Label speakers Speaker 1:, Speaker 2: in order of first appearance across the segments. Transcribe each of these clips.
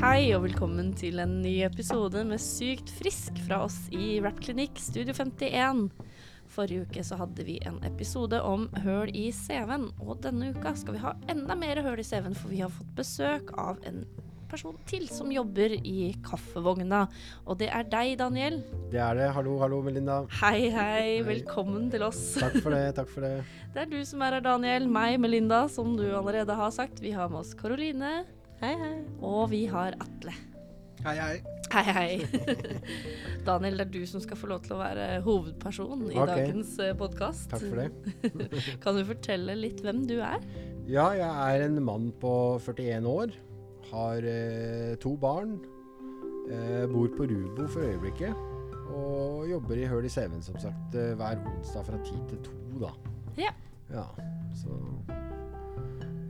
Speaker 1: Hei og velkommen til en ny episode med Sykt frisk fra oss i Rappklinikk Studio 51. Forrige uke så hadde vi en episode om høl i CV-en, og denne uka skal vi ha enda mer høl i CV-en, for vi har fått besøk av en person til som jobber i kaffevogna. Og det er deg, Daniel.
Speaker 2: Det er det. Hallo, hallo, Melinda.
Speaker 1: Hei, hei. Velkommen til oss.
Speaker 2: Takk for det. takk for det.
Speaker 1: Det er du som er her, Daniel. Meg, Melinda, som du allerede har sagt. Vi har med oss Karoline. Hei, hei. Og vi har Atle.
Speaker 3: Hei, hei.
Speaker 1: Hei, hei. Daniel, det er du som skal få lov til å være hovedperson i
Speaker 2: Ok.
Speaker 1: dagens podkast.
Speaker 2: Takk for det.
Speaker 1: Kan du fortelle litt hvem du er?
Speaker 2: Ja, jeg er en mann på 41 år. Har eh, to barn. Eh, bor på Rubo for øyeblikket. Og jobber i Høl i CV-en, som sagt, eh, hver onsdag fra 10 til 2, da.
Speaker 1: Ja.
Speaker 2: Ja, så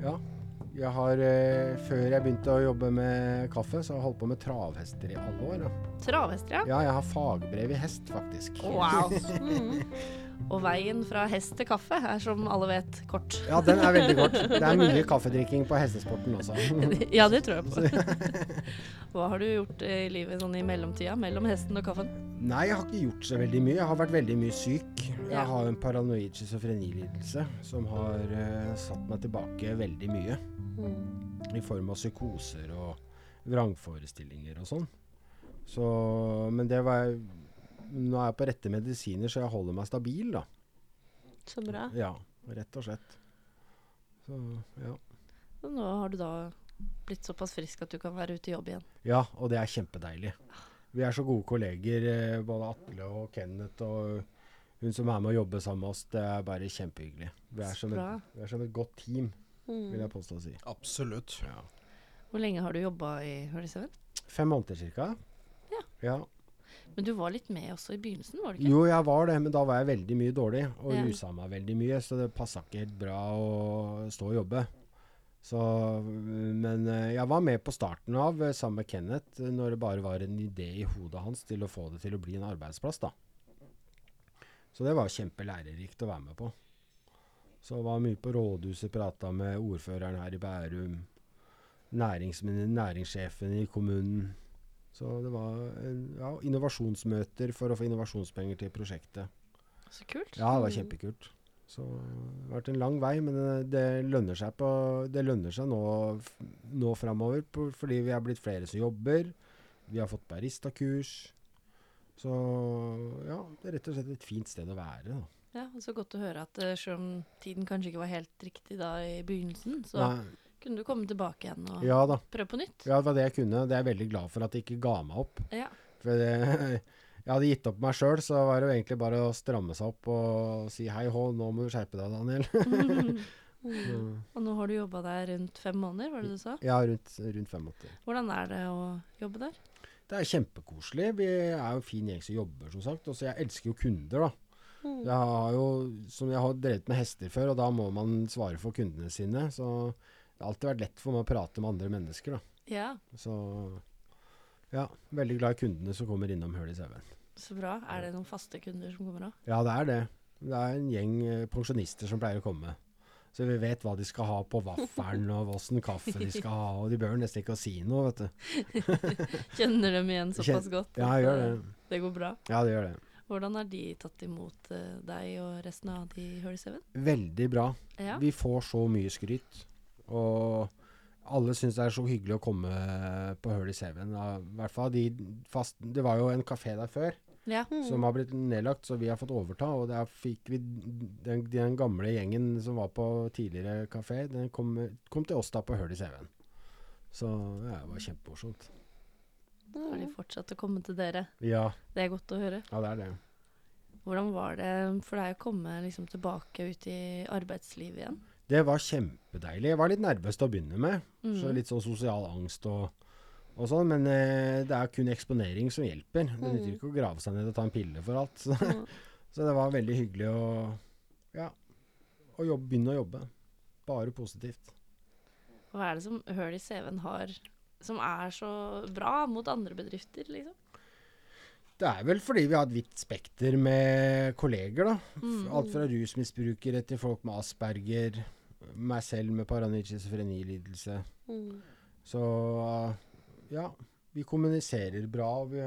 Speaker 2: Ja. Jeg har, eh, før jeg begynte å jobbe med kaffe, så har jeg holdt på med travhester i alle år. Da.
Speaker 1: Travhester, ja.
Speaker 2: Ja, jeg har fagbrev i hest, faktisk.
Speaker 1: Wow. Mhm. Og veien fra hest til kaffe er, som alle vet, kort.
Speaker 2: Ja, den er veldig kort. Det er mye kaffedrikking på hestesporten også.
Speaker 1: Ja, det tror jeg på. Hva har du gjort i livet sånn i mellomtida, mellom hesten og kaffen?
Speaker 2: Nei, jeg har ikke gjort så veldig mye. Jeg har vært veldig mye syk.
Speaker 1: Ja.
Speaker 2: Jeg har en paranoid schizofrenilidelse som har eh, satt meg tilbake veldig mye.
Speaker 4: Mm,
Speaker 2: I form av psykoser og vrangforestillinger og sånn. Så, men det var Nå er jeg på rette medisiner, så jeg holder meg stabil, da.
Speaker 4: Så bra.
Speaker 2: Ja, rett og slett. Så, ja.
Speaker 1: Og Nå har du da blitt såpass frisk at du kan være ute i jobb igjen.
Speaker 2: Ja, og det er kjempedeilig. Vi er så gode kolleger, eh, både Atle og Kenneth og hun som er med og jobber sammen med oss. Det er bare kjempehyggelig. Vi er som
Speaker 1: Bra.
Speaker 2: et, vi er som et godt team,
Speaker 4: Mm.
Speaker 2: vil jeg påstå å si.
Speaker 3: Absolutt.
Speaker 1: Hvor lenge har du jobba i Høliseven?
Speaker 2: Fem måneder cirka.
Speaker 1: Ja. Men du var litt med også i begynnelsen, var du ikke?
Speaker 2: Jo, jeg var det, men da var jeg veldig mye dårlig og
Speaker 1: Ja.
Speaker 2: rusa meg veldig mye, så det passa ikke helt bra å stå og jobbe. Så, men eh, jeg var med på starten av eh, sammen med Kenneth, eh, når det bare var en idé i hodet hans til å få det til å bli en arbeidsplass, da. Så det var kjempelærerikt å være med på. Så jeg var mye på rådhuset, prata med ordføreren her i Bærum, nærings, næringssjefen i kommunen. Så det var eh, ja, innovasjonsmøter for å få innovasjonspenger til prosjektet.
Speaker 1: Så kult.
Speaker 2: Mm. Ja, det var kjempekult. Så det har vært en lang vei, men eh, det lønner seg, på, det lønner seg nå, f- nå framover på- fordi vi er blitt flere som jobber. Vi har fått baristakurs. Så ja, det er rett og slett et fint sted å være. Da.
Speaker 1: Ja, og Så godt å høre at eh, selv om tiden kanskje ikke var helt riktig da i begynnelsen, så
Speaker 2: Nei,
Speaker 1: kunne du komme tilbake igjen og
Speaker 2: ja da.
Speaker 1: prøve på nytt.
Speaker 2: Ja, det var det jeg kunne. Det er jeg veldig glad for at jeg ikke ga meg opp.
Speaker 1: Ja.
Speaker 2: For det, jeg hadde gitt opp meg sjøl, så var det jo egentlig bare å stramme seg opp og si hei hå, nå må du skjerpe deg, Daniel.
Speaker 1: Og nå har du jobba der rundt fem måneder, var det du sa?
Speaker 2: Ja, rundt, rundt 85.
Speaker 1: Hvordan er det å jobbe der?
Speaker 2: Det er kjempekoselig. Vi er jo en fin gjeng som jobber, som sagt. Og så jeg elsker jo kunder, da. Jeg har jo, som jeg har drevet med hester før, og da må man svare for kundene sine. Så det har alltid vært lett for meg å prate med andre mennesker, da.
Speaker 1: Ja,
Speaker 2: Så ja, veldig glad i kundene som kommer innom Høl i CV-en.
Speaker 1: så bra. Er det noen faste kunder som kommer òg?
Speaker 2: Ja, det er det. Det er en gjeng eh, pensjonister som pleier å komme. Så vi vet hva de skal ha på vaffelen, og åssen kaffe de skal ha. Og de bør nesten ikke å si noe, vet du.
Speaker 1: Kjenner dem igjen såpass
Speaker 2: Kjen-
Speaker 1: godt?
Speaker 2: Ja,
Speaker 1: at,
Speaker 2: gjør det.
Speaker 1: eh, Det går bra.
Speaker 2: Ja, det gjør det.
Speaker 1: Hvordan har de tatt imot eh, deg og resten av de i Høliseven?
Speaker 2: Veldig bra.
Speaker 1: Ja.
Speaker 2: Vi får så mye skryt. Og alle syns det er så hyggelig å komme på Hull i CV-en. da. I hvert fall de fast Det var jo en kafé der før
Speaker 1: ja.
Speaker 2: som har blitt nedlagt, så vi har fått overta. Og der fikk vi den, den gamle gjengen som var på tidligere kafé, den kom, kom til oss da på Hull i CV-en. Så ja, det var kjempemorsomt.
Speaker 1: Har de fortsatt å komme til dere?
Speaker 2: Ja,
Speaker 1: Det er godt å høre.
Speaker 2: ja, det er det.
Speaker 1: Hvordan var det for deg å komme liksom, tilbake ut i arbeidslivet igjen?
Speaker 2: Det var kjempedeilig. Jeg var litt nervøs til å begynne med.
Speaker 1: Mm.
Speaker 2: Så litt sånn sosial angst og, og sånn. Men eh, det er kun eksponering som hjelper. Det nytter ikke å grave seg ned og ta en pille for alt. Så, så det var veldig hyggelig å, ja, å jobbe, begynne å jobbe. Bare positivt.
Speaker 1: Hva er det som høl i CV-en har som er så bra mot andre bedrifter, liksom?
Speaker 2: Det er vel fordi vi har et vidt spekter med kolleger, da.
Speaker 1: Mm.
Speaker 2: Alt fra rusmisbrukere til folk med asperger.
Speaker 1: Mm.
Speaker 2: Meg selv med paranoid schizofrenilidelse.
Speaker 4: Mm.
Speaker 2: Så eh, ja, vi kommuniserer bra. Og vi,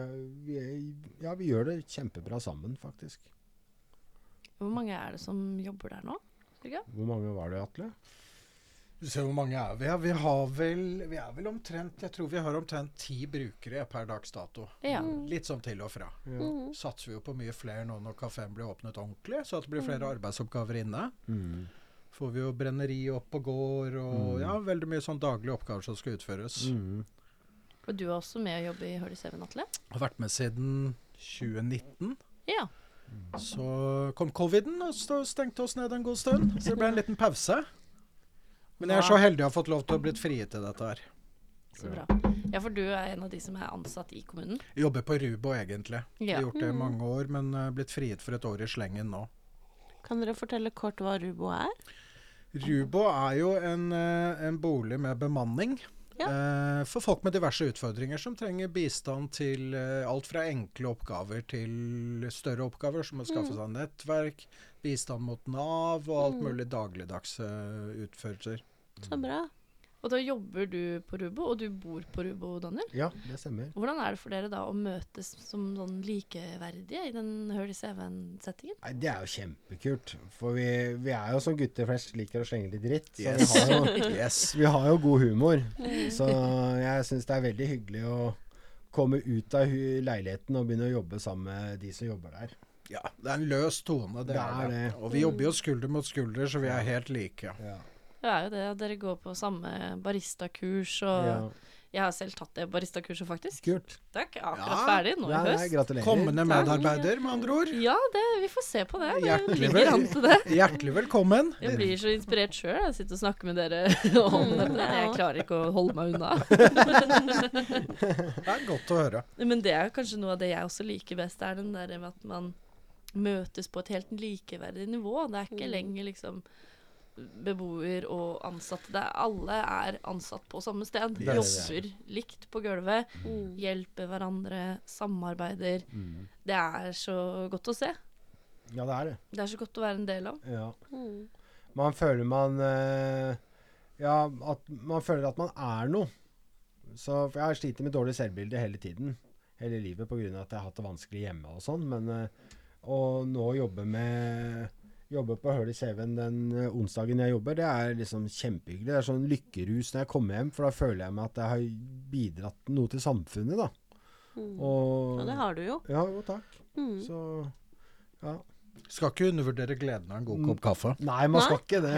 Speaker 2: vi, er- ja, vi gjør det kjempebra sammen, faktisk.
Speaker 1: Hvor mange er det som jobber der nå?
Speaker 2: Hvor mange var det, Atle?
Speaker 3: Du ser hvor mange er vi er. Vi har vel, vi er vel omtrent Jeg tror vi har omtrent ti brukere per dags dato.
Speaker 1: Ja.
Speaker 3: Litt sånn til og fra.
Speaker 2: Ja.
Speaker 1: Mm.
Speaker 3: Satser vi jo på mye flere nå når kafeen blir åpnet ordentlig, så at det blir flere arbeidsoppgaver inne.
Speaker 2: Mm.
Speaker 3: Får vi jo brenneri opp og går, og
Speaker 2: Mm.
Speaker 3: ja, veldig mye sånn daglige oppgaver som skal utføres.
Speaker 2: Mm.
Speaker 1: Og du er også med å jobbe i Hurdy Seven, Atle?
Speaker 3: Har vært med siden 2019.
Speaker 1: Ja.
Speaker 3: Så kom coviden og så stengte oss ned en god stund. Så det ble en liten pause. Men jeg er så heldig å ha fått lov til å blitt frie til dette her.
Speaker 1: Så bra. Ja, for du er en av de som er ansatt i kommunen?
Speaker 3: Jobber på Rubo egentlig. Jeg
Speaker 1: Ja.
Speaker 3: har gjort det i mange år, men eh, blitt frigitt for et år i slengen nå.
Speaker 4: Kan dere fortelle kort hva Rubo er?
Speaker 3: Rubo er jo en, eh, en bolig med bemanning eh, for folk med diverse utfordringer som trenger bistand til eh, alt fra enkle oppgaver til større oppgaver, som å skaffe seg nettverk, bistand mot Nav og alt mulig dagligdagse utførelser.
Speaker 4: Så bra.
Speaker 1: Og da jobber du på Rubo, og du bor på Rubo, Daniel.
Speaker 2: ja, det stemmer.
Speaker 1: Hvordan er det for dere da å møtes som sånn likeverdige i den Hurdy Seven-settingen?
Speaker 2: Nei, Det er jo kjempekult. For vi, vi er jo som gutter flest liker å slenge litt dritt. Så
Speaker 3: Yes.
Speaker 2: vi, har jo,
Speaker 3: Yes.
Speaker 2: vi har jo god humor.
Speaker 1: Mm.
Speaker 2: Så jeg syns det er veldig hyggelig å komme ut av hu- leiligheten og begynne å jobbe sammen med de som jobber der.
Speaker 3: Ja, det er en løs tone. Det,
Speaker 2: Det
Speaker 3: er
Speaker 2: er
Speaker 3: det.
Speaker 2: det.
Speaker 3: Og vi jobber jo skulder mot skulder, så vi er helt like.
Speaker 2: Ja.
Speaker 1: Det er jo det at dere går på samme baristakurs, og
Speaker 2: Ja.
Speaker 1: jeg har selv tatt det baristakurset, faktisk.
Speaker 2: Kult.
Speaker 1: Takk. Akkurat
Speaker 3: Ja.
Speaker 1: ferdig nå i
Speaker 2: Nei, nei,
Speaker 1: høst.
Speaker 2: gratulerer.
Speaker 3: Kommende medarbeider, med andre ord.
Speaker 1: Ja, det, vi får se på det. Det
Speaker 3: Hjertelig,
Speaker 1: ligger an til det.
Speaker 3: vel- hjertelig velkommen.
Speaker 1: Jeg blir så inspirert sjøl. Jeg sitter og snakker med dere om det. men Mm, Jeg klarer ikke å holde meg unna.
Speaker 3: Det er godt å høre.
Speaker 1: Men det er kanskje noe av det jeg også liker best, er den der med at man møtes på et helt likeverdig nivå. Det er ikke lenger liksom beboer og ansatte. Det er, alle er ansatt på samme sted.
Speaker 2: Det er det.
Speaker 1: Jobber likt på gulvet. Hjelper hverandre, samarbeider.
Speaker 2: Mm.
Speaker 1: Det er så godt å se.
Speaker 2: Ja, det er det.
Speaker 1: Det er så godt å være en del av.
Speaker 2: Ja. Man føler man eh, Ja, at man føler at man er noe. Så for jeg har slitt med dårlig selvbilde hele tiden. Hele livet pga. at jeg har hatt det vanskelig hjemme og sånn. Men eh, å nå jobbe med Jobbe på hull i CV-en den eh, onsdagen jeg jobber, det er liksom kjempehyggelig. Det er sånn lykkerus når jeg kommer hjem, for da føler jeg meg at jeg har bidratt noe til samfunnet, da. Og,
Speaker 4: Og det har du jo.
Speaker 2: Ja, jo takk.
Speaker 4: Mm.
Speaker 2: Så ja.
Speaker 3: Skal ikke undervurdere gleden av en god kopp kaffe.
Speaker 2: Nei, man skal ikke det.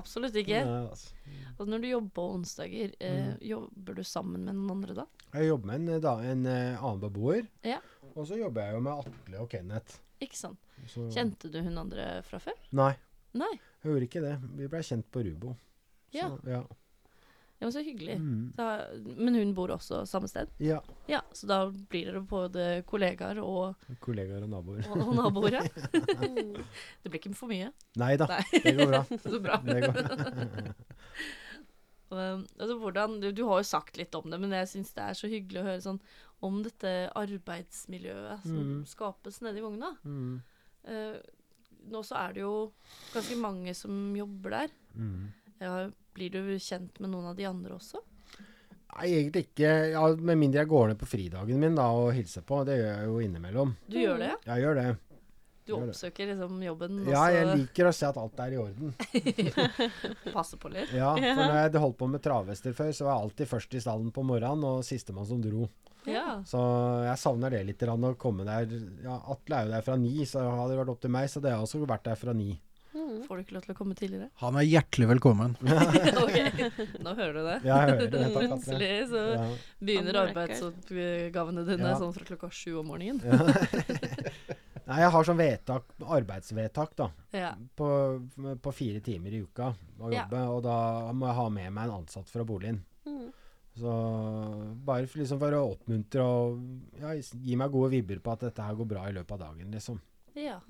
Speaker 1: Absolutt ikke.
Speaker 2: Nei, altså.
Speaker 1: Og når du jobber på onsdager, eh,
Speaker 2: Mm.
Speaker 1: jobber du sammen med noen andre da?
Speaker 2: Jeg jobber med en, da, en eh, annen beboer.
Speaker 1: Ja.
Speaker 2: Og så jobber jeg jo med Atle og Kenneth.
Speaker 1: Ikke sant.
Speaker 2: Så,
Speaker 1: Kjente du hun andre fra før?
Speaker 2: Nei,
Speaker 1: Nei.
Speaker 2: jeg gjorde ikke det. Vi blei kjent på Rubo.
Speaker 1: Ja,
Speaker 2: Så, ja.
Speaker 1: det var så hyggelig.
Speaker 2: Mm.
Speaker 1: Da, men hun bor også samme sted?
Speaker 2: ja.
Speaker 1: Ja, så da blir dere både kollegaer og,
Speaker 2: Kollegaer og naboer.
Speaker 1: og, og naboer, ja. det blir ikke for mye.
Speaker 2: Nei da,
Speaker 1: Nei.
Speaker 2: det går bra.
Speaker 1: Så bra.
Speaker 2: Det går.
Speaker 1: Um, altså, hvordan, du, du har jo sagt litt om det, men jeg syns det er så hyggelig å høre sånn om dette arbeidsmiljøet som
Speaker 2: Mm.
Speaker 1: skapes nede i vogna.
Speaker 2: Mm.
Speaker 1: Eh, nå så er det jo ganske mange som jobber der.
Speaker 2: Mm.
Speaker 1: Ja, blir du kjent med noen av de andre også?
Speaker 2: Nei, egentlig ikke. Ja, med mindre jeg går ned på fridagen min da, og hilser på. Det gjør jeg jo innimellom.
Speaker 1: Du gjør det? ja?
Speaker 2: Jeg gjør det.
Speaker 1: Du
Speaker 2: Gjør det.
Speaker 1: oppsøker liksom jobben og
Speaker 2: Ja, jeg
Speaker 1: så
Speaker 2: liker å se at alt er i orden.
Speaker 1: passer på litt?
Speaker 2: Ja, For når jeg holdt på med travhester før, så var jeg alltid først i stallen på morgenen og sistemann som dro.
Speaker 1: Ja.
Speaker 2: Så jeg savner det litt, grann, å komme der. Ja, Atle er jo der fra ni, så hadde det vært opp til meg, så det har jeg også vært der fra ni.
Speaker 1: Får du ikke lov til å komme tidligere?
Speaker 3: Han er hjertelig velkommen.
Speaker 1: ok, nå hører du det.
Speaker 2: Jeg hører det, takk Atle.
Speaker 1: Plutselig så
Speaker 2: Ja.
Speaker 1: begynner
Speaker 4: Han merker.
Speaker 1: arbeidsoppgavene dine
Speaker 2: Ja.
Speaker 1: sånn fra klokka sju om morgenen.
Speaker 2: Nei, jeg har sånn vedtak, arbeidsvedtak da,
Speaker 1: Ja.
Speaker 2: på, på fire timer i uka å
Speaker 1: Ja.
Speaker 2: jobbe, og da må jeg ha med meg en ansatt fra boligen.
Speaker 1: Mm.
Speaker 2: Så bare for, liksom for å oppmuntre og ja, gi meg gode vibber på at dette her går bra i løpet av dagen, liksom.
Speaker 1: ja.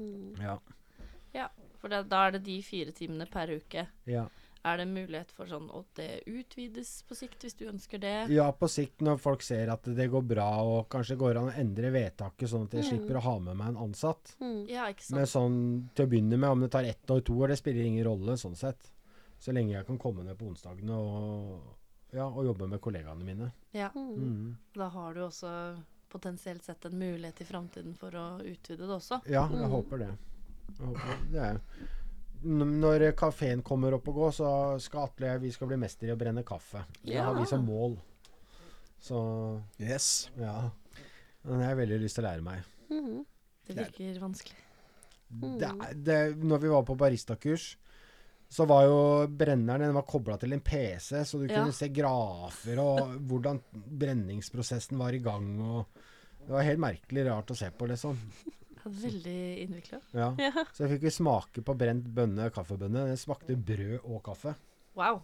Speaker 2: Ja.
Speaker 1: For da, da er det de fire timene per uke.
Speaker 2: Ja.
Speaker 1: Er det mulighet for sånn at det utvides på sikt, hvis du ønsker det?
Speaker 2: Ja, på sikt når folk ser at det går bra, og kanskje går an å endre vedtaket sånn at
Speaker 4: Mm.
Speaker 2: jeg slipper å ha med meg en ansatt.
Speaker 1: Ja, ikke
Speaker 2: Men
Speaker 1: sant.
Speaker 2: sånn til å begynne med, om det tar ett år, to år, det spiller ingen rolle sånn sett. Så lenge jeg kan komme ned på onsdagene og, ja, og jobbe med kollegaene mine.
Speaker 1: Ja.
Speaker 4: Mm.
Speaker 2: Mm.
Speaker 1: Da har du også potensielt sett en mulighet i framtiden for å utvide det også.
Speaker 2: Ja, jeg
Speaker 4: Mm.
Speaker 2: håper det. Jeg håper det. er- N- Når kafeen kommer opp og går, så skal Atle og jeg vi skal bli mester i å brenne kaffe. Det har vi
Speaker 4: Ja.
Speaker 2: som mål. Så
Speaker 3: Yes.
Speaker 2: ja. Den har jeg veldig lyst til å lære meg.
Speaker 4: Mhm.
Speaker 1: Det
Speaker 3: Det er-
Speaker 1: virker vanskelig. Mm.
Speaker 2: det, er- det, når vi var på baristakurs, så var jo brenneren den var kobla til en PC, så du
Speaker 1: Ja.
Speaker 2: kunne se grafer og hvordan brenningsprosessen var i gang. Og det var helt merkelig rart å se på, liksom.
Speaker 1: Det er Veldig innvikla.
Speaker 2: Ja.
Speaker 4: Ja.
Speaker 2: Så jeg fikk jo smake på brent bønne, kaffebønne. Det smakte brød og kaffe.
Speaker 1: Wow.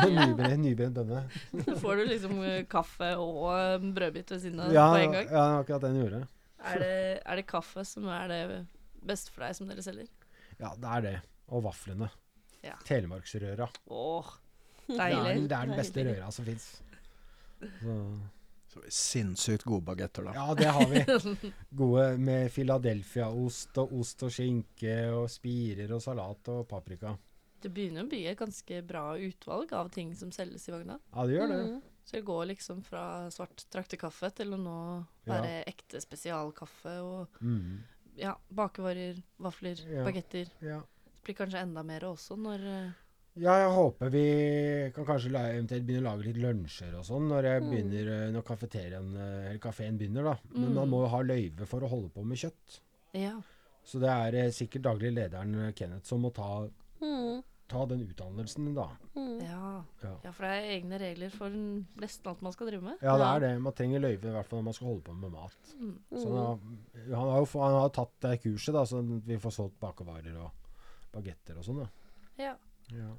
Speaker 2: Nybrent, nybrent bønne.
Speaker 1: Da får du liksom eh, kaffe og eh, brødbit ved siden av
Speaker 2: Ja,
Speaker 1: på
Speaker 2: ja,
Speaker 1: en gang.
Speaker 2: det var akkurat det den gjorde.
Speaker 1: Er det, er det kaffe som er det beste for deg som dere selger?
Speaker 2: Ja, det er det. Og vaflene.
Speaker 1: Ja.
Speaker 2: Telemarksrøra.
Speaker 1: Åh,
Speaker 2: Det
Speaker 1: deilig.
Speaker 2: er, den- det er den
Speaker 4: Deilig.
Speaker 2: beste røra som fins.
Speaker 3: Så sinnssykt gode bagetter, da.
Speaker 2: Ja, det har vi. Gode med Philadelphia-ost og ost og skinke og spirer og salat og paprika.
Speaker 1: Det begynner å bli et ganske bra utvalg av ting som selges i vogna.
Speaker 2: Ja, det gjør det.
Speaker 4: Mhm.
Speaker 1: Så det går liksom fra svart traktekaffe til å nå
Speaker 2: Ja.
Speaker 1: være ekte spesialkaffe og
Speaker 2: Mm.
Speaker 1: ja, bakevarer, vafler,
Speaker 2: Ja.
Speaker 1: bagetter.
Speaker 2: Ja.
Speaker 1: Det blir kanskje enda mer også når eh,
Speaker 2: ja, jeg håper vi kan kanskje la, eventuelt begynne å lage litt lunsjer og sånn når, jeg begynner, eh, når kafeteriaen, eh, eller kafeen begynner, da. Men man må jo ha løyve for å holde på med kjøtt.
Speaker 1: eh, Ja.
Speaker 2: Så det er eh, sikkert daglig lederen eh, Kenneth som må ta,
Speaker 4: Mhm.
Speaker 2: ta den utdannelsen, da.
Speaker 4: Mhm.
Speaker 1: Ja.
Speaker 2: Ja.
Speaker 1: ja, for det er egne regler for nesten alt man skal drive med.
Speaker 2: Ja, det
Speaker 4: Ja.
Speaker 2: er det. Man trenger løyve i hvert fall når man skal holde på med mat.
Speaker 1: Mm.
Speaker 2: Så han har, han har jo få- han har tatt det kurset, da, så vi får solgt bakervarer og bagetter og sånn. da.
Speaker 1: Ja.
Speaker 2: Ja.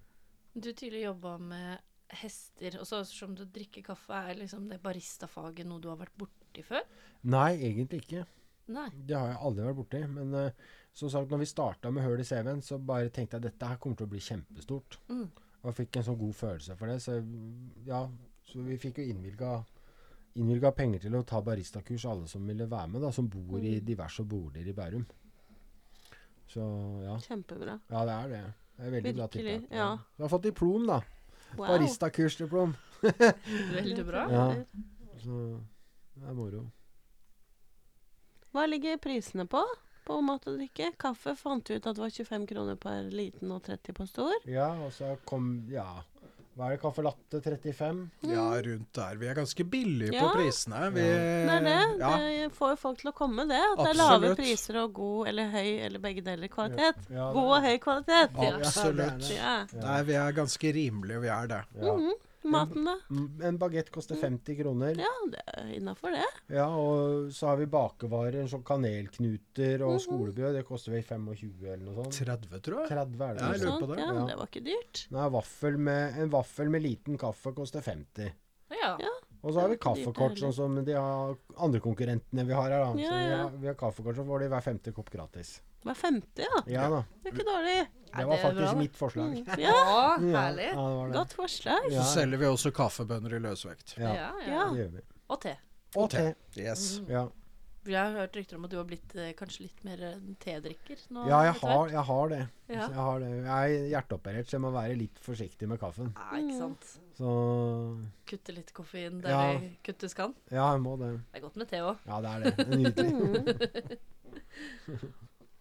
Speaker 1: Du tidligere jobba med hester, og så som du drikker kaffe, er liksom det baristafaget noe du har vært borti før?
Speaker 2: Nei, egentlig ikke.
Speaker 1: Nei.
Speaker 2: Det har jeg aldri vært borti. Men eh, som sagt, når vi starta med Høl i CV-en, så bare tenkte jeg dette her kommer til å bli kjempestort.
Speaker 1: Mm.
Speaker 2: Og jeg fikk en sånn god følelse for det. Så ja, så vi fikk jo innvilga innvilga penger til å ta baristakurs, alle som ville være med, da, som bor
Speaker 1: Mm.
Speaker 2: i diverse boliger i Bærum. Så ja.
Speaker 4: Kjempebra.
Speaker 2: Ja, det er det. Det er veldig bra
Speaker 4: Virkelig,
Speaker 2: tiltak.
Speaker 4: ja.
Speaker 2: Du har fått diplom, da.
Speaker 4: Wow.
Speaker 2: Baristakursdiplom.
Speaker 1: Veldig bra.
Speaker 2: Ja. Så det er moro.
Speaker 4: Hva ligger prisene på? På mat og drikke? Kaffe fant vi ut at var 25 kroner per liten og 30 på stor.
Speaker 2: Ja, og så kom Ja. Hva er det? Caffè latte 35?
Speaker 3: Ja, rundt der. Vi er ganske billige
Speaker 4: Ja.
Speaker 3: på prisene. Vi,
Speaker 2: Eh,
Speaker 4: Det er det.
Speaker 3: Ja.
Speaker 4: Det får jo folk til å komme, det. At det er lave
Speaker 3: Absolutt.
Speaker 4: priser og god eller høy eller begge deler kvalitet.
Speaker 2: Ja,
Speaker 4: God og høy kvalitet.
Speaker 1: Ja,
Speaker 3: Absolutt.
Speaker 4: Ja.
Speaker 3: Nei, vi er ganske rimelige, vi er det.
Speaker 2: Ja.
Speaker 4: Mhm. Maten, da?
Speaker 2: Mm, En bagett koster 50 kroner. Ja.
Speaker 4: Ja, det er innafor det.
Speaker 2: og så har vi bakevarer som kanelknuter
Speaker 4: Mhm.
Speaker 2: og skolebrød. Det koster vel 25 eller noe sånt.
Speaker 3: 30, tror jeg.
Speaker 2: 30 er det.
Speaker 3: Ja, jeg
Speaker 2: kanskje.
Speaker 3: lurer på
Speaker 4: Sånn,
Speaker 3: det,
Speaker 4: ja,
Speaker 2: ja.
Speaker 4: det var ikke dyrt.
Speaker 2: Nei, vaffel med, en vaffel med liten kaffe koster 50.
Speaker 1: Ja.
Speaker 4: Ja.
Speaker 2: Og så har
Speaker 4: Det er
Speaker 2: vi
Speaker 4: ikke dyrt, det
Speaker 2: kaffekort,
Speaker 4: heller.
Speaker 2: sånn som de har andre konkurrentene vi har her. da.
Speaker 4: Ja,
Speaker 2: så vi
Speaker 4: ja.
Speaker 2: har, vi har kaffekort, så får de hver femte kopp gratis.
Speaker 4: Det var 50, ja.
Speaker 2: Ja da.
Speaker 4: Det er ikke dårlig.
Speaker 1: Ja,
Speaker 2: Det var
Speaker 1: det er bra,
Speaker 2: faktisk
Speaker 1: da.
Speaker 2: mitt forslag.
Speaker 4: Ja,
Speaker 1: Å,
Speaker 2: Ja,
Speaker 1: herlig.
Speaker 2: Ja, det var det.
Speaker 4: Mm. Godt forslag.
Speaker 2: Ja.
Speaker 3: Så selger vi også kaffebønner i løsvekt.
Speaker 2: Ja,
Speaker 1: Ja, ja.
Speaker 4: Ja.
Speaker 2: det gjør vi.
Speaker 1: Og te.
Speaker 2: Og te.
Speaker 3: Yes.
Speaker 2: Ja,
Speaker 1: Jeg har hørt rykter om at du har blitt eh, kanskje litt mer eh, tedrikker nå.
Speaker 2: ja jeg,
Speaker 1: etter
Speaker 2: har,
Speaker 1: hvert.
Speaker 2: jeg har det. Så
Speaker 1: Ja.
Speaker 2: Jeg, har det. jeg er hjerteoperert, så jeg må være litt forsiktig med kaffen.
Speaker 1: Nei, ikke sant.
Speaker 2: Så
Speaker 1: Kutte litt koffein der
Speaker 2: Ja.
Speaker 1: det kuttes kan.
Speaker 2: ja, jeg må det.
Speaker 1: Det er godt med te òg.
Speaker 2: Ja, det er det. det er nydelig.
Speaker 4: Mhm.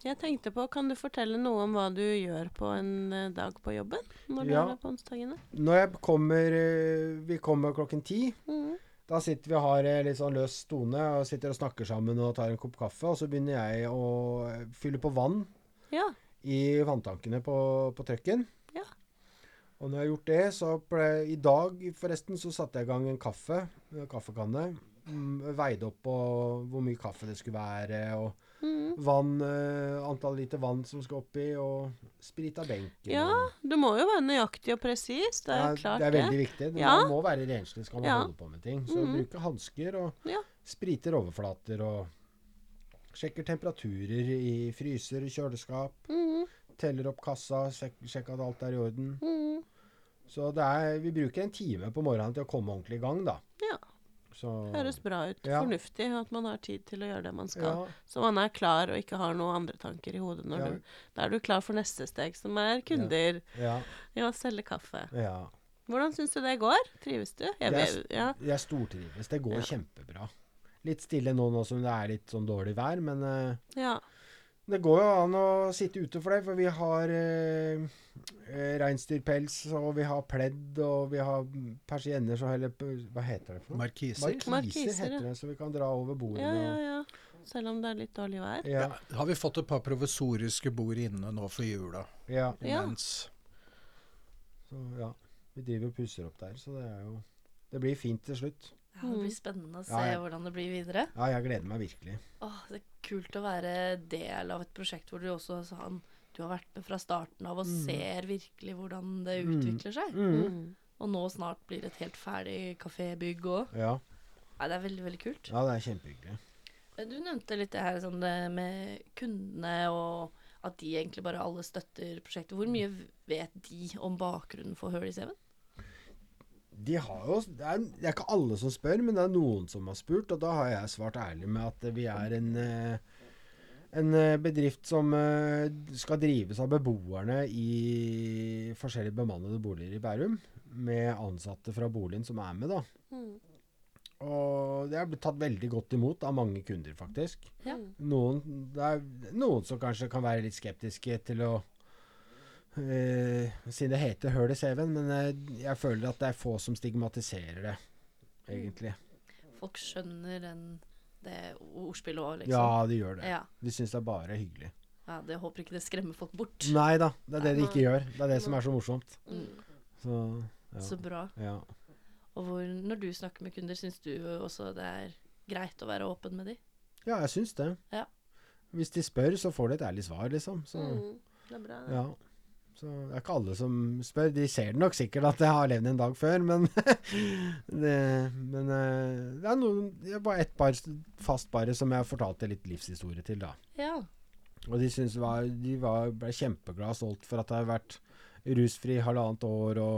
Speaker 4: Jeg tenkte på, Kan du fortelle noe om hva du gjør på en eh, dag på jobben? Når du
Speaker 2: Ja.
Speaker 4: er der på onsdagene?
Speaker 2: Når jeg kommer eh, Vi kommer klokken ti.
Speaker 4: Mhm.
Speaker 2: Da sitter vi og har eh, litt sånn løs tone og sitter og snakker sammen og tar en kopp kaffe. Og så begynner jeg å eh, fylle på vann
Speaker 4: Ja.
Speaker 2: i vanntankene på, på trucken.
Speaker 4: Ja.
Speaker 2: Og når jeg har gjort det, så ble- I dag forresten så satte jeg i gang en kaffe, en kaffekanne. Mm, Veide opp på hvor mye kaffe det skulle være, og
Speaker 4: Mhm.
Speaker 2: vann, eh, antall liter vann som skal oppi, og sprita benken.
Speaker 4: ja.
Speaker 2: og-
Speaker 4: Du må jo være nøyaktig og presis. Det er
Speaker 2: Ja,
Speaker 4: jo klart,
Speaker 2: det er veldig viktig.
Speaker 4: Ja.
Speaker 2: Man må være renslig skal man
Speaker 4: Ja. Mhm.
Speaker 2: holde på med ting. Så bruke hansker og
Speaker 4: Ja.
Speaker 2: spriter overflater og sjekker temperaturer i fryser og kjøleskap.
Speaker 4: Mhm.
Speaker 2: Teller opp kassa, sjek sjekker at alt er i orden.
Speaker 4: Mhm.
Speaker 2: Så det er, vi bruker en time på morgenen til å komme ordentlig i gang, da.
Speaker 4: Ja.
Speaker 2: Så,
Speaker 4: Høres bra ut.
Speaker 2: Ja.
Speaker 4: Fornuftig at man har tid til å gjøre det man skal.
Speaker 2: ja,
Speaker 4: Så man er klar og ikke har noen andre tanker i hodet. Når
Speaker 2: Ja.
Speaker 4: du, da er du klar for neste steg, som er kunder.
Speaker 2: ja,
Speaker 4: Ja, selge kaffe.
Speaker 2: ja.
Speaker 4: Hvordan syns du det går? Trives du? Jeg
Speaker 2: Det er
Speaker 4: vet, ja.
Speaker 2: Jeg stortrives. Det går
Speaker 4: Ja.
Speaker 2: kjempebra. Litt stille nå nå som det er litt sånn dårlig vær, men eh,
Speaker 4: ja.
Speaker 2: det går jo an å sitte ute for det. For vi har eh, eh, reinsdyrpels, og vi har pledd, og vi har persienner som heller p- Hva heter det for noe?
Speaker 3: Markiser.
Speaker 2: Markiser,
Speaker 4: Markiser, ja.
Speaker 2: heter det, så vi kan dra over bordet.
Speaker 4: ja, ja, ja. Selv om det er litt dårlig vær.
Speaker 2: ja.
Speaker 3: Ja, har vi fått et par provisoriske bord inne nå for jula?
Speaker 2: ja.
Speaker 4: Ja.
Speaker 3: Imens.
Speaker 2: Så ja, vi driver og pusser opp der, så det er jo Det blir fint til slutt.
Speaker 1: Ja, det blir spennende å se
Speaker 2: Ja, ja.
Speaker 1: hvordan det blir videre.
Speaker 2: Ja, jeg gleder meg virkelig.
Speaker 1: Åh, det er kult å være del av et prosjekt hvor du også sånn, du har vært med fra starten av og ser virkelig hvordan det
Speaker 2: Mm.
Speaker 1: utvikler seg.
Speaker 2: Mm.
Speaker 4: Mm.
Speaker 1: Og nå snart blir det et helt ferdig kafébygg òg.
Speaker 2: Ja.
Speaker 1: Nei, det er veldig, veldig kult.
Speaker 2: ja, det er kjempehyggelig.
Speaker 1: Du nevnte litt det her sånn det med kundene og at de egentlig bare alle støtter prosjektet. Hvor mye vet de om bakgrunnen for Hør i Seven?
Speaker 2: De har jo, det, er, det er ikke alle som spør, men det er noen som har spurt, og da har jeg svart ærlig med at vi er en eh, en eh, bedrift som eh, skal drives av beboerne i forskjellige bemannede boliger i Bærum. Med ansatte fra boligen som er med, da.
Speaker 4: Mm.
Speaker 2: Og det er blitt tatt veldig godt imot av mange kunder, faktisk.
Speaker 1: Ja.
Speaker 4: Mm.
Speaker 2: Noen, det er noen som kanskje kan være litt skeptiske til å eh, Siden det heter høl i CV-en, men eh, jeg føler at det er få som stigmatiserer det, egentlig.
Speaker 1: Mm, Folk skjønner den, det ordspillet òg,
Speaker 2: Ja,
Speaker 1: liksom.
Speaker 2: de gjør det.
Speaker 1: ja.
Speaker 2: De syns det er bare hyggelig.
Speaker 1: ja. Det håper ikke det skremmer folk bort.
Speaker 2: Nei da, det er det de
Speaker 4: Nei.
Speaker 2: ikke gjør. Det er det som er så morsomt.
Speaker 1: Mm.
Speaker 2: Så
Speaker 1: Så
Speaker 2: ja.
Speaker 1: bra.
Speaker 2: ja.
Speaker 1: Og hvor, når du snakker med kunder, syns du også det er greit å være åpen med de?
Speaker 2: ja jeg syns det.
Speaker 1: Ja.
Speaker 2: Hvis de spør, så får de et ærlig svar, liksom. Så,
Speaker 4: Mm. Det er bra, det.
Speaker 2: ja. så det er ikke alle som spør. De ser det nok sikkert at jeg har levd en dag før, men det, Men eh, det er noen Det var ett par fast bare som jeg fortalte litt livshistorie til, da.
Speaker 1: Ja.
Speaker 2: Og de syntes det var, de var, ble kjempeglade og stolt for at jeg har vært rusfri halvannet år og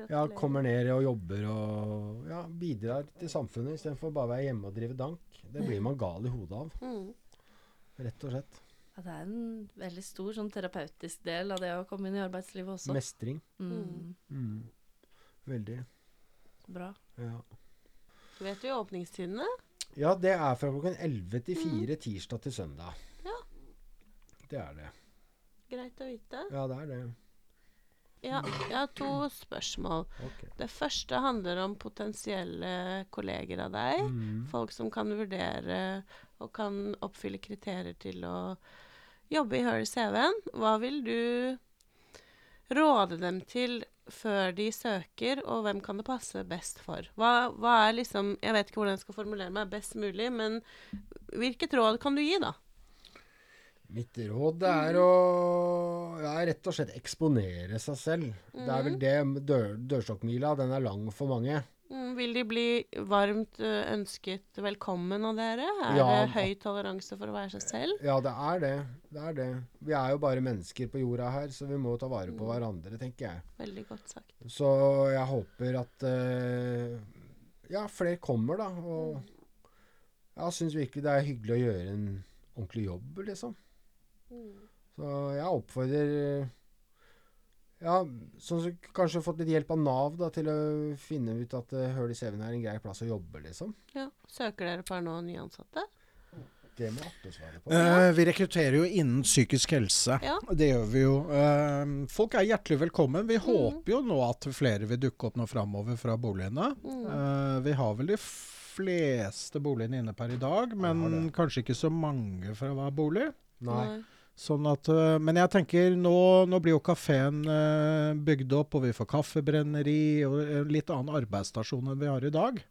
Speaker 2: ja,
Speaker 4: Gratulerer.
Speaker 2: kommer ned og jobber og ja, bidrar til samfunnet istedenfor bare å være hjemme og drive dank. Det blir man gal i hodet av,
Speaker 4: Mm.
Speaker 2: rett og slett.
Speaker 1: ja. Det er en veldig stor sånn terapeutisk del av det å komme inn i arbeidslivet også.
Speaker 2: Mestring.
Speaker 1: Mm.
Speaker 2: Mm. Veldig.
Speaker 1: Bra.
Speaker 2: Ja.
Speaker 4: Vet du åpningstidene?
Speaker 2: ja, det er fra klokken 11 til 4 tirsdag til søndag.
Speaker 4: Ja.
Speaker 2: Det er det.
Speaker 4: Greit å vite.
Speaker 2: Ja, det er det.
Speaker 4: Ja, jeg har to spørsmål.
Speaker 2: Ok.
Speaker 4: Det første handler om potensielle kolleger av deg.
Speaker 2: Mm.
Speaker 4: Folk som kan vurdere og kan oppfylle kriterier til å jobbe i Hør i CV-en. Hva vil du råde dem til før de søker, og hvem kan det passe best for? Hva, hva er liksom Jeg vet ikke hvordan jeg skal formulere meg best mulig, men hvilket råd kan du gi, da?
Speaker 2: Mitt råd er å ja, rett og slett eksponere seg selv. Det er vel det dør, dørstokkmila, den er lang for mange.
Speaker 4: Mm, Vil de bli varmt ø, ønsket velkommen av dere? Er
Speaker 2: Ja,
Speaker 4: det høy toleranse for å være seg selv?
Speaker 2: Ja, det er det. Det er det. Vi er jo bare mennesker på jorda her, så vi må ta vare på hverandre, tenker jeg.
Speaker 4: Veldig godt sagt.
Speaker 2: Så jeg håper at eh, ja, flere kommer, da. Og jeg syns virkelig det er hyggelig å gjøre en ordentlig jobb, liksom. Så jeg oppfordrer eh, ja, sånn som kanskje fått litt hjelp av Nav da, til å finne ut at eh, Hull i CV-en er en grei plass å jobbe, liksom.
Speaker 4: Ja. Søker dere per nå nyansatte?
Speaker 2: Det må Atte svare på.
Speaker 3: Eh, vi rekrutterer jo innen psykisk helse.
Speaker 4: Ja.
Speaker 3: Det gjør vi jo. Eh, folk er hjertelig velkommen.
Speaker 2: Mm.
Speaker 3: Vi håper jo nå at flere vil dukke opp nå framover fra boligene.
Speaker 2: Mm.
Speaker 3: Eh, vi har vel de fleste boligene inne per i dag,
Speaker 2: har
Speaker 3: men
Speaker 2: det.
Speaker 3: kanskje ikke så mange fra hver bolig.
Speaker 2: Nei.
Speaker 3: Sånn at, øh, men jeg tenker, nå, nå blir jo kafeen bygd opp, og vi får kaffebrenneri og en litt annen arbeidsstasjon enn vi har i dag.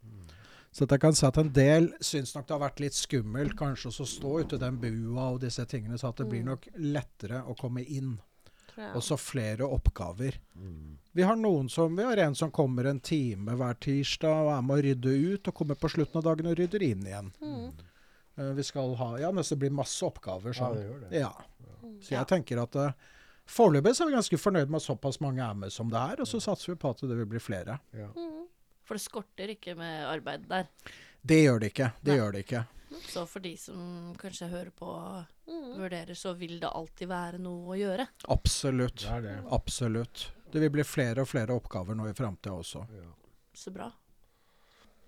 Speaker 3: Så at jeg kan si at en del syns nok det har vært litt skummelt kanskje også å stå ute i den bua og disse tingene, så at det blir nok lettere å komme inn.
Speaker 4: Tror jeg.
Speaker 3: Og så flere oppgaver.
Speaker 2: Mm.
Speaker 3: Vi har noen som, vi har en som kommer en time hver tirsdag og er med å rydde ut, og kommer på slutten av dagen og rydder inn igjen.
Speaker 4: Mm.
Speaker 3: Eh, Vi skal ha, ja, men så blir det masse oppgaver.
Speaker 2: Ja,
Speaker 3: Sånn.
Speaker 2: det gjør det.
Speaker 3: Ja.
Speaker 4: mm.
Speaker 3: Så jeg tenker at eh, foreløpig så er vi ganske fornøyd med at såpass mange er med som det er, og så satser vi på at det vil bli flere.
Speaker 2: Ja.
Speaker 1: For det skorter ikke med arbeid der.
Speaker 3: Det gjør det ikke. Det gjør det ikke.
Speaker 1: Så for de som kanskje hører på Mm. og vurderer, så vil det alltid være noe å gjøre.
Speaker 3: Absolutt.
Speaker 2: Det er det.
Speaker 3: Absolutt. Det vil bli flere og flere oppgaver nå i framtida også.
Speaker 2: Ja.
Speaker 1: Så bra.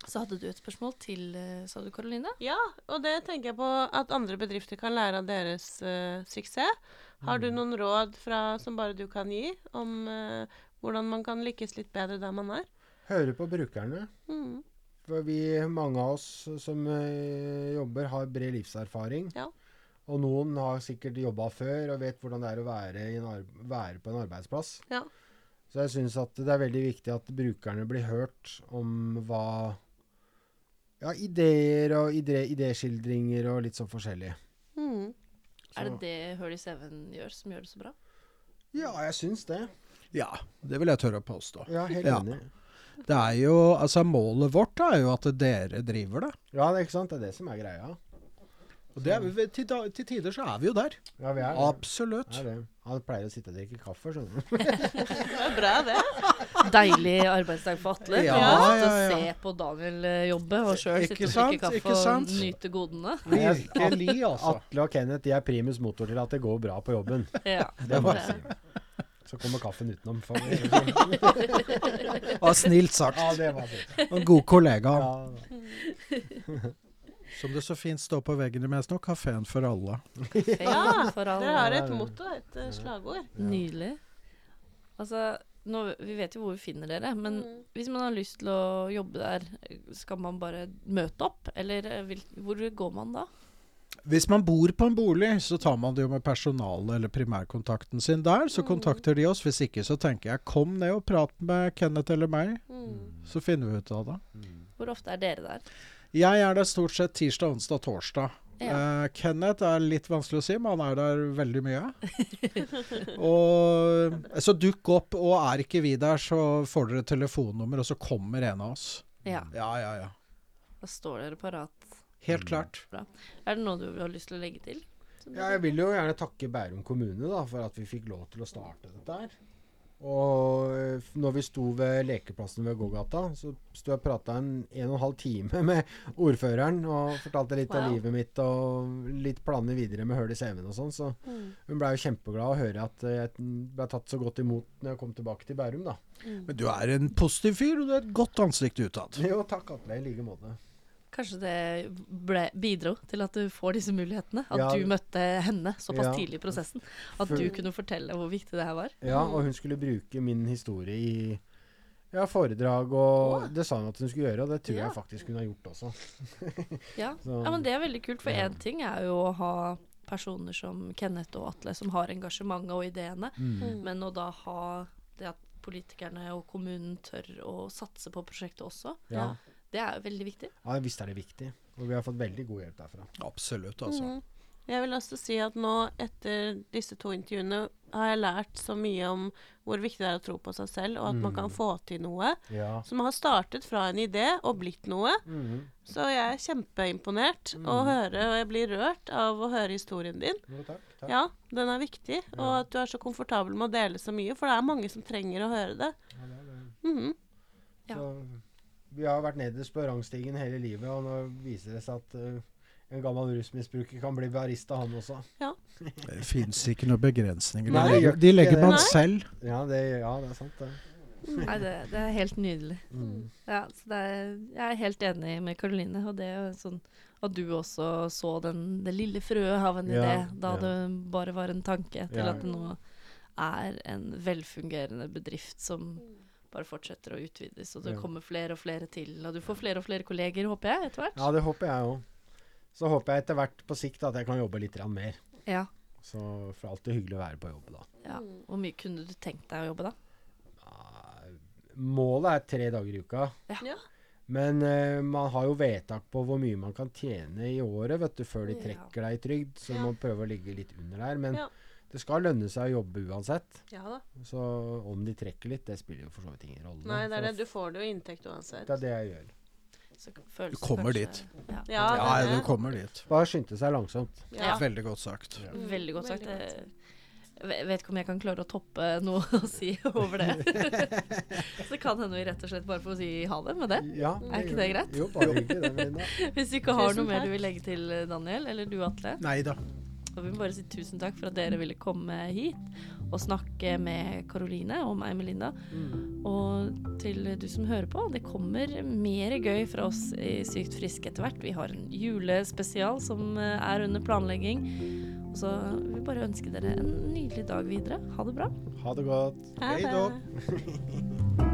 Speaker 1: Så hadde du et spørsmål til, eh, sa du, Karoline?
Speaker 4: Ja, og det tenker jeg på at andre bedrifter kan lære av deres eh, suksess. Har du noen råd fra, som bare du kan gi, om eh, hvordan man kan lykkes litt bedre der man er?
Speaker 2: Høre på brukerne.
Speaker 4: Mm.
Speaker 2: For vi, mange av oss som eh, jobber, har bred livserfaring.
Speaker 4: Ja.
Speaker 2: Og noen har sikkert jobba før og vet hvordan det er å være, i en ar være på en arbeidsplass.
Speaker 4: Ja.
Speaker 2: Så jeg syns at det er veldig viktig at brukerne blir hørt om hva Ja, ideer og idé- idéskildringer og litt sånn forskjellig.
Speaker 4: Mm.
Speaker 1: Er det det Hør i Seven gjør, som gjør det så bra?
Speaker 2: Ja, jeg syns det.
Speaker 3: Ja, det vil jeg tørre å påstå.
Speaker 2: Ja, helt
Speaker 3: Ja.
Speaker 2: enig.
Speaker 3: Det er jo, altså Målet vårt er jo at dere driver det.
Speaker 2: Ja, det er ikke sant? Det er det som er greia.
Speaker 3: Og det er, vi- til, da- til tider så er vi jo der.
Speaker 2: Ja, vi er det.
Speaker 3: Absolutt.
Speaker 2: Er det. Han pleier å sitte og drikke kaffe, skjønner du.
Speaker 4: Det er bra, det.
Speaker 1: Deilig arbeidsdag for Atle.
Speaker 3: Ja,
Speaker 1: Kan sitte og
Speaker 3: ja, ja.
Speaker 1: Se på Daniel eh, jobbe, og sjøl
Speaker 3: Ikke
Speaker 1: sitte og
Speaker 3: sant,
Speaker 1: drikke kaffe
Speaker 3: ikke
Speaker 1: og
Speaker 3: sant?
Speaker 1: nyte godene.
Speaker 3: Virkelig, altså.
Speaker 2: Atle og Kenneth de er primus motor til at det går bra på jobben.
Speaker 1: Ja.
Speaker 2: Det må jeg si. Så kommer kaffen utenom. For,
Speaker 3: Ja, snilt sagt.
Speaker 2: ja, det var fint.
Speaker 3: En god kollega.
Speaker 2: Ja.
Speaker 3: Som det så fint står på veggen i Mesno, kafeen for alle.
Speaker 4: Ja,
Speaker 1: for all-
Speaker 4: Dere har et motto, et eh, slagord.
Speaker 1: Nydelig. Altså, nå, vi vet jo hvor vi finner dere, men
Speaker 4: Mm.
Speaker 1: hvis man har lyst til å jobbe der, skal man bare møte opp, eller eh, hvil, hvor går man da?
Speaker 3: Hvis man bor på en bolig, så tar man det jo med personalet eller primærkontakten sin der. Så kontakter de oss. Hvis ikke, så tenker jeg kom ned og prat med Kenneth eller meg,
Speaker 4: Mm.
Speaker 3: så finner vi ut av det.
Speaker 1: Hvor ofte er dere der?
Speaker 3: Jeg er der stort sett tirsdag, onsdag, torsdag.
Speaker 1: Ja.
Speaker 3: Eh, Kenneth er litt vanskelig å si, men han er der veldig mye. og, så dukk opp, og er ikke vi der, så får dere telefonnummer, og så kommer en av oss.
Speaker 1: Ja,
Speaker 3: Ja, ja, ja.
Speaker 1: da står dere parat.
Speaker 3: Helt klart.
Speaker 1: Er det noe du har lyst til å legge til?
Speaker 2: Ja, jeg vil jo gjerne takke Bærum kommune da, for at vi fikk lov til å starte dette her. Og eh, f- når vi sto ved lekeplassen ved gågata, så sto jeg og prata en en og en halv time med ordføreren og fortalte litt av
Speaker 1: Wow.
Speaker 2: livet mitt og litt planer videre med hull i CV-en og sånn. Så
Speaker 4: Mm.
Speaker 2: hun blei jo kjempeglad å høre at eh, jeg ble tatt så godt imot når jeg kom tilbake til Bærum, da.
Speaker 3: Men du er en positiv fyr, og du har et godt ansikt utad.
Speaker 2: Jo, takk Atle, i like måte.
Speaker 1: Kanskje det ble, bidro til at du får disse mulighetene? At
Speaker 2: Ja.
Speaker 1: du møtte henne såpass
Speaker 2: Ja.
Speaker 1: tidlig i prosessen? At du
Speaker 2: Full-
Speaker 1: kunne fortelle hvor viktig det her var?
Speaker 2: Ja, og hun skulle bruke min historie i ja, foredrag, og det sa hun at hun skulle gjøre, og det tror
Speaker 1: Ja.
Speaker 2: jeg faktisk hun har gjort også.
Speaker 1: Ja.
Speaker 2: Så-
Speaker 1: ja, men det er veldig kult, for
Speaker 2: Ja.
Speaker 1: én ting er jo å ha personer som Kenneth og Atle, som har engasjementet og ideene,
Speaker 4: Mm.
Speaker 1: men å da ha det at politikerne og kommunen tør å satse på prosjektet også,
Speaker 2: Ja.
Speaker 1: det er jo veldig viktig.
Speaker 2: ja, visst er det viktig, og vi har fått veldig god hjelp derfra.
Speaker 3: Absolutt, altså.
Speaker 4: Mm. Jeg vil også si at nå, etter disse to intervjuene, har jeg lært så mye om hvor viktig det er å tro på seg selv, og at man kan få til noe.
Speaker 2: Ja.
Speaker 4: Som har startet fra en idé og blitt noe. Så jeg er kjempeimponert å høre, og jeg blir rørt av å høre historien din.
Speaker 2: Jo, takk. takk.
Speaker 4: Ja, den er viktig, og at du er så komfortabel med å dele så mye, for det er mange som trenger å høre det. Mhm.
Speaker 1: Ja.
Speaker 2: Så, vi har vært nederst på rangstigen hele livet, og nå viser det seg at eh, en gammel rusmisbruker kan bli barista, han også.
Speaker 3: Det fins ikke noen begrensninger.
Speaker 2: Nei,
Speaker 3: De
Speaker 2: det gjør
Speaker 3: legger, de
Speaker 2: ikke
Speaker 3: legger
Speaker 2: det.
Speaker 3: man
Speaker 4: Nei.
Speaker 3: selv.
Speaker 2: Ja, det, ja, det er sant, det.
Speaker 1: Nei, det, det er helt nydelig.
Speaker 2: Mm.
Speaker 1: Ja, så det er, jeg er helt enig med Karoline, og det er jo sånn at du også så den, det lille frøet av en
Speaker 2: Ja,
Speaker 1: idé da
Speaker 2: ja.
Speaker 1: det bare var en tanke, til
Speaker 2: Ja.
Speaker 1: at det nå er en velfungerende bedrift som bare fortsetter å utvides, og det
Speaker 2: Ja.
Speaker 1: kommer flere og flere til, og du får flere og flere kolleger, håper jeg, etter hvert.
Speaker 2: Ja, det håper jeg òg. Så håper jeg etter hvert på sikt at jeg kan jobbe litt grann mer.
Speaker 1: Ja.
Speaker 2: Så for alltid hyggelig å være på jobb, da.
Speaker 1: ja.
Speaker 4: Mm.
Speaker 1: Hvor mye kunne du tenkt deg å jobbe da?
Speaker 2: Nei, Ah, Målet er tre dager i uka.
Speaker 4: Ja.
Speaker 2: Men eh, man har jo vedtak på hvor mye man kan tjene i året vet du, før de
Speaker 1: Ja.
Speaker 2: trekker deg i trygd, så
Speaker 4: Ja.
Speaker 2: man prøver å ligge litt under der. Men
Speaker 4: Ja.
Speaker 2: det skal lønne seg å jobbe uansett.
Speaker 4: ja da.
Speaker 2: Så om de trekker litt, det spiller jo for så vidt ingen rolle.
Speaker 4: Nei, det er
Speaker 2: For
Speaker 4: det. Du får det jo inntekt uansett.
Speaker 2: Det er det jeg gjør.
Speaker 1: Så føles det
Speaker 3: kommer
Speaker 1: kanskje- Ja.
Speaker 4: Ja,
Speaker 3: Ja,
Speaker 4: det er
Speaker 3: du
Speaker 4: det.
Speaker 3: kommer dit.
Speaker 2: Bare skynde seg langsomt.
Speaker 4: Ja.
Speaker 3: Veldig godt sagt.
Speaker 4: Mm,
Speaker 1: Veldig godt sagt.
Speaker 4: veldig
Speaker 1: Jeg ve- vet ikke om jeg kan klare å toppe noe å si over det. Så det kan hende vi rett og slett bare får si ha det med det.
Speaker 2: Ja,
Speaker 1: Er ikke det greit?
Speaker 2: Jo, bare hyggelig. det, Melinda.
Speaker 1: Hvis du ikke har
Speaker 4: Tusen
Speaker 1: noe mer
Speaker 4: takk.
Speaker 1: eh, du vil legge til, Daniel, eller du, Atle,
Speaker 3: Nei da.
Speaker 1: Og vi må bare si tusen takk for at dere ville komme hit og snakke med Karoline og meg, Melinda.
Speaker 2: Mm.
Speaker 1: Og til du som hører på, det kommer mer gøy fra oss i Sykt frisk etter hvert. Vi har en julespesial som eh, er under planlegging. Og så vil vi bare ønske dere en nydelig dag videre. Ha det bra.
Speaker 2: Ha det godt.
Speaker 4: Ha
Speaker 3: Hei
Speaker 4: det.
Speaker 3: da.